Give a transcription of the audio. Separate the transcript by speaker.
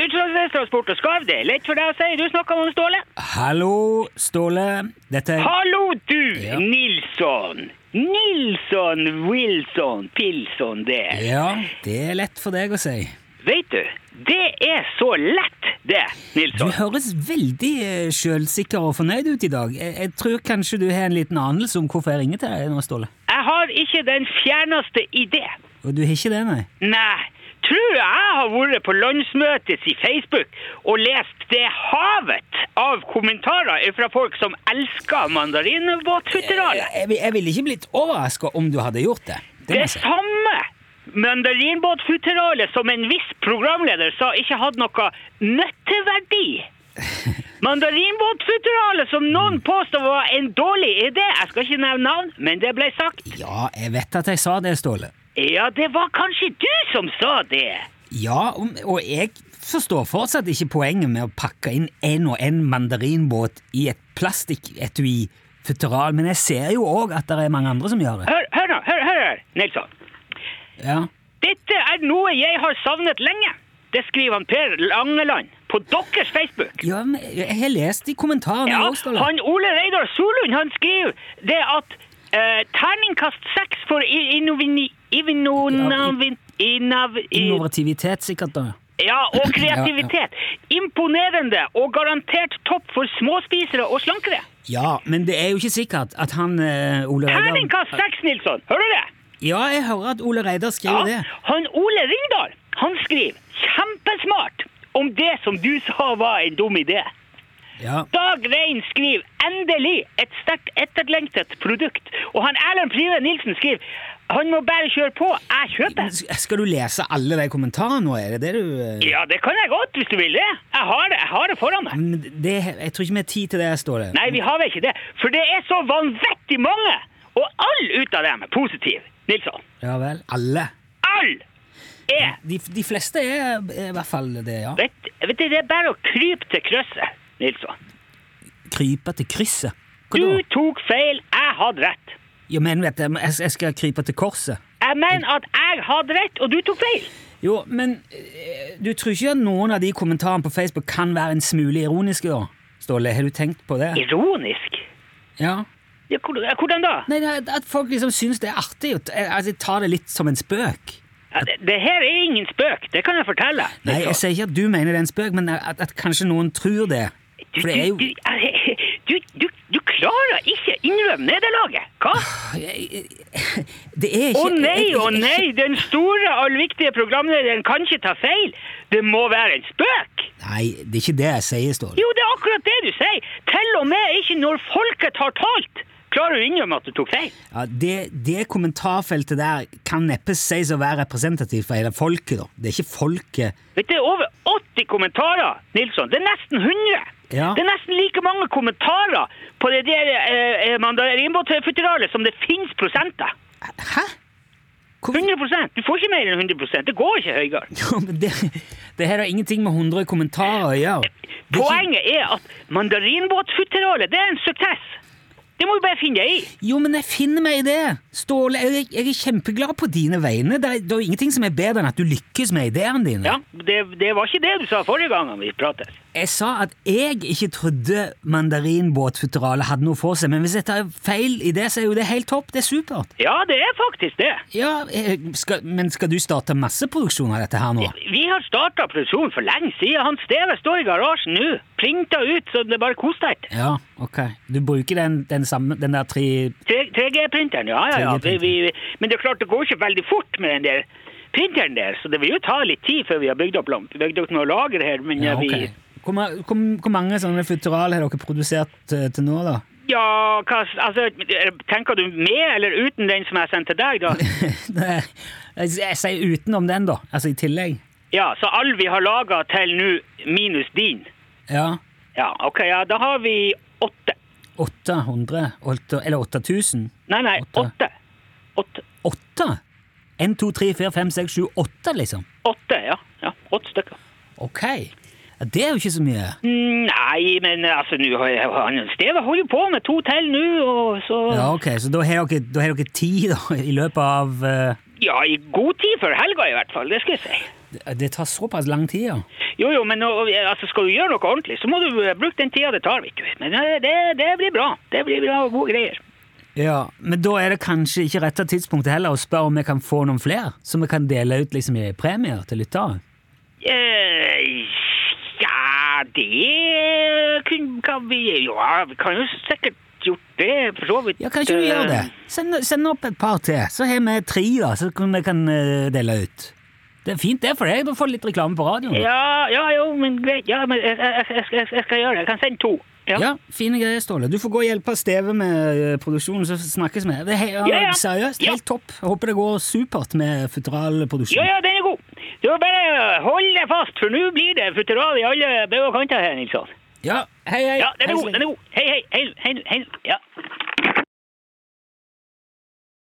Speaker 1: skarvtransport og skarv, det er lett for deg å si. Du snakka om Ståle.
Speaker 2: Hallo, Ståle. Dette er
Speaker 1: Hallo, du,
Speaker 2: Ja.
Speaker 1: Nilsson! Nilsson Wilson Pilson, det.
Speaker 2: Ja, det er lett for deg å si.
Speaker 1: Vet du, det er så lett, det,
Speaker 2: Du
Speaker 1: Nilsson.
Speaker 2: høres veldig eh, sjølsikker og fornøyd ut i dag. Jeg, jeg tror kanskje du har en liten anelse om hvorfor jeg ringer til deg nå, Ståle.
Speaker 1: Jeg har ikke den fjerneste idé.
Speaker 2: Og du har ikke det, nei?
Speaker 1: Nei, tror jeg jeg har vært på landsmøtet i Facebook og lest det havet av kommentarer fra folk som elsker mandarinbåtfutterale.
Speaker 2: Jeg, vil- jeg ville ikke blitt overraska om du hadde gjort det. Det må
Speaker 1: Det
Speaker 2: jeg si.
Speaker 1: samme mandarinbåtfutterale som en viss programleder sa ikke hadde noe nytteverdi. Mandarinbåtfutterale som noen
Speaker 2: Mm.
Speaker 1: påstod var en dårlig idé. Jeg skal ikke nevne navn, men det ble sagt.
Speaker 2: Ja, jeg vet at jeg sa det, Ståle.
Speaker 1: Ja, det var kanskje du som sa det.
Speaker 2: Ja, om- og jeg forstår fortsatt ikke poenget med å pakke inn en og en mandarinbåt i et plastikketui futteral, men jeg ser jo òg at det er mange andre som gjør det.
Speaker 1: Hør, hør nå, hør, hør, hør, Nilsson.
Speaker 2: Ja,
Speaker 1: Dette er noe jeg har savnet lenge. Det skriver han Per Langeland på deres Facebook.
Speaker 2: ja men jeg har lest i kommentarene
Speaker 1: Ja,
Speaker 2: òg, Ståle.
Speaker 1: han Ole Reidar Solund han skriver det at eh, terningkast seks for i- innovini- innovonavin- innav- i-
Speaker 2: Innovativitet, sikkert. da.
Speaker 1: Ja, og kreativitet. Imponerende og garantert topp for småspisere og slankere.
Speaker 2: Ja, men det er jo ikke sikkert at han eh, Ole Reidar
Speaker 1: Terningkast seks, Nilsson! Hører du det?
Speaker 2: Ja, jeg hører at Ole Reidar skriver
Speaker 1: Ja.
Speaker 2: det.
Speaker 1: Han Ole Ringdal han skriver kjempesmart om det som du sa var en dum idé.
Speaker 2: Ja,
Speaker 1: Dag Rein skriver endelig et sterkt etterlengtet produkt. Og han Erlend Prive Nilsen skriver han må bare kjøre på, jeg
Speaker 2: Men
Speaker 1: kjøper.
Speaker 2: s- Skal du lese alle de kommentarene nå, er det det du eh?
Speaker 1: Ja, det kan jeg godt hvis du vil det. Jeg har det, jeg har det foran meg.
Speaker 2: Men det, Jeg tror ikke vi har tid til det, Ståle.
Speaker 1: Nei, vi har vel ikke det. For det er så vanvittig mange! Og alle ut av dem er positive, Nilsson.
Speaker 2: Ja vel. Alle.
Speaker 1: Alle er
Speaker 2: De, de fleste er, er i hvert fall det, ja.
Speaker 1: vet, vet du, Det er bare å krype til krysset, Nilsson.
Speaker 2: Krype til krysset. Hva
Speaker 1: Du
Speaker 2: da?
Speaker 1: tok feil, jeg hadde rett.
Speaker 2: Ja, men vet du, jeg, jeg skal krype til korset.
Speaker 1: Jeg mener at jeg hadde rett, og du tok feil.
Speaker 2: Jo, men eh, du tror ikke at noen av de kommentarene på Facebook kan være en smule ironiske, da? Ståle, har du tenkt på det?
Speaker 1: Ironisk.
Speaker 2: Ja.
Speaker 1: Ja, hvordan- hvordan da?
Speaker 2: Nei, det er at folk liksom syns det er artig. og t- Altså, jeg tar det litt som en spøk.
Speaker 1: Ja, det, det her er ingen spøk, det kan jeg fortelle.
Speaker 2: Nei, jeg
Speaker 1: Liksom.
Speaker 2: sier ikke at du mener det er en spøk, men at, at kanskje noen tror det.
Speaker 1: du,
Speaker 2: For det er jo
Speaker 1: du, du, du, du klarer ikke innrømme nederlaget. Hva?
Speaker 2: Det er ikke
Speaker 1: Å nei,
Speaker 2: jeg-
Speaker 1: å
Speaker 2: jeg- jeg-
Speaker 1: nei, den store, allviktige programlederen kan ikke ta feil. Det må være en spøk.
Speaker 2: Nei, det er ikke det jeg sier, Ståle.
Speaker 1: Jo, det er akkurat det du sier. Til og med ikke når folket har talt, klarer du å innrømme at du tok feil.
Speaker 2: Ja, det, det kommentarfeltet der kan neppe sies å være representativt for hele folket, da. Det er ikke folket
Speaker 1: Vet du, Det er over 80 kommentarer, Nilsson. Det er nesten 100.
Speaker 2: Ja.
Speaker 1: Det er nesten like mange kommentarer på det der eh, eh, mandarinbåtfutteralet som det finnes prosenter.
Speaker 2: Hæ? Hvor-
Speaker 1: 100 Du får ikke mer enn 100 Det går ikke høyere.
Speaker 2: Jo, men det, det her har ingenting med 100 kommentarer å gjøre. Det er ikke,
Speaker 1: Poenget er at mandarinbåtfutteralet, det er en suksess. Det må du bare finne deg i.
Speaker 2: jo, men jeg finner meg i det! Ståle, jeg, jeg er kjempeglad på dine vegne. Det er, det er jo ingenting som er bedre enn at du lykkes med ideene dine.
Speaker 1: Ja, det, det var ikke det du sa forrige gang vi pratet.
Speaker 2: Jeg sa at jeg ikke trodde mandarinbåtfutteralet hadde noe for seg, men hvis jeg tar feil i det, så er jo det helt topp. Det er supert.
Speaker 1: Ja, det er faktisk det.
Speaker 2: Ja, eh, skal, Men skal du starte masseproduksjon av dette her nå?
Speaker 1: Vi har starta produksjonen for lenge siden. Han Steve står i garasjen nå, printa ut så det bare koster.
Speaker 2: Ja, ok. Du bruker den, den, samme, den der tre
Speaker 1: 3G-printeren, ja, ja, ja.
Speaker 2: 3G-printeren.
Speaker 1: Vi, vi, men det er klart det går ikke veldig fort med den der printeren der, så det vil jo ta litt tid før vi har bygd opp, lam- bygd opp noe lager her. Men
Speaker 2: ja,
Speaker 1: ja, vi,
Speaker 2: ok. Hvor, ma- hvor, hvor mange sånne futteral har dere produsert eh, til nå, da?
Speaker 1: ja hva, s- altså, tenker du med eller uten den som jeg sendte deg, da?
Speaker 2: Nei, jeg, jeg sier utenom den, da. Altså i tillegg.
Speaker 1: Ja, så all vi har laga til nå, minus din.
Speaker 2: Ja.
Speaker 1: Ja, ok, ja, da har vi åtte.
Speaker 2: 800? åtte- Eller 8000?
Speaker 1: Nei, nei,
Speaker 2: Åtte.
Speaker 1: åtte. Åtte,
Speaker 2: Åtte? 1, 2, 3, 4, 5, 6, 7, 8, liksom?
Speaker 1: åtte ja. ja. Åtte stykker.
Speaker 2: Ok. Ja, det er jo ikke så mye.
Speaker 1: Nei, men altså, nå har jeg- han Steve holder jo på med to til nå, og så
Speaker 2: Ja, ok, Så da har dere, da har dere ti da, i løpet av eh,
Speaker 1: Ja, i god tid før helga i hvert fall, det skal jeg si.
Speaker 2: Det, det tar såpass lang tid, ja.
Speaker 1: Jo, jo, men nå, altså, skal du gjøre noe ordentlig, så må du eh, bruke den tida det tar, vet du. Men eh, det, det blir bra. Det blir bra og gode greier.
Speaker 2: ja. Men da er det kanskje ikke rette tidspunktet heller å spørre om vi kan få noen flere, som vi kan dele ut liksom i premier til lyttere.
Speaker 1: Eh, ja, det kunne, kan vi Ja, vi kan jo sikkert gjort det, for så vidt.
Speaker 2: Ja, kan ikke du gjøre det?
Speaker 1: Eh,
Speaker 2: Send, send opp et par til, så har vi tre da, så kan vi kan eh, dele ut. Det er fint det for deg, du får litt reklame på radioen.
Speaker 1: Eh, Ja, ja, jo, men greit. Ja, men jeg, jeg, jeg, jeg, jeg skal gjøre det. Jeg kan sende to. Ja.
Speaker 2: Ja, fine greier, Ståle. Du får gå og hjelpe Steve med eh, produksjonen, så snakkes vi. Det er he-
Speaker 1: Ja, ja.
Speaker 2: Seriøst,
Speaker 1: Ja.
Speaker 2: helt topp. Jeg håper det går supert med
Speaker 1: Ja,
Speaker 2: futuralproduksjon.
Speaker 1: ja, den er god. Du må bare holde deg fast, for nå blir det futteral i alle bauger og kanter her, Nilsson.
Speaker 2: Ja, hei, hei.
Speaker 1: Ja, den er
Speaker 2: Hei,
Speaker 1: god,
Speaker 2: Sven.
Speaker 1: den er god. Hei, hei, hei, hei, hei. Ja.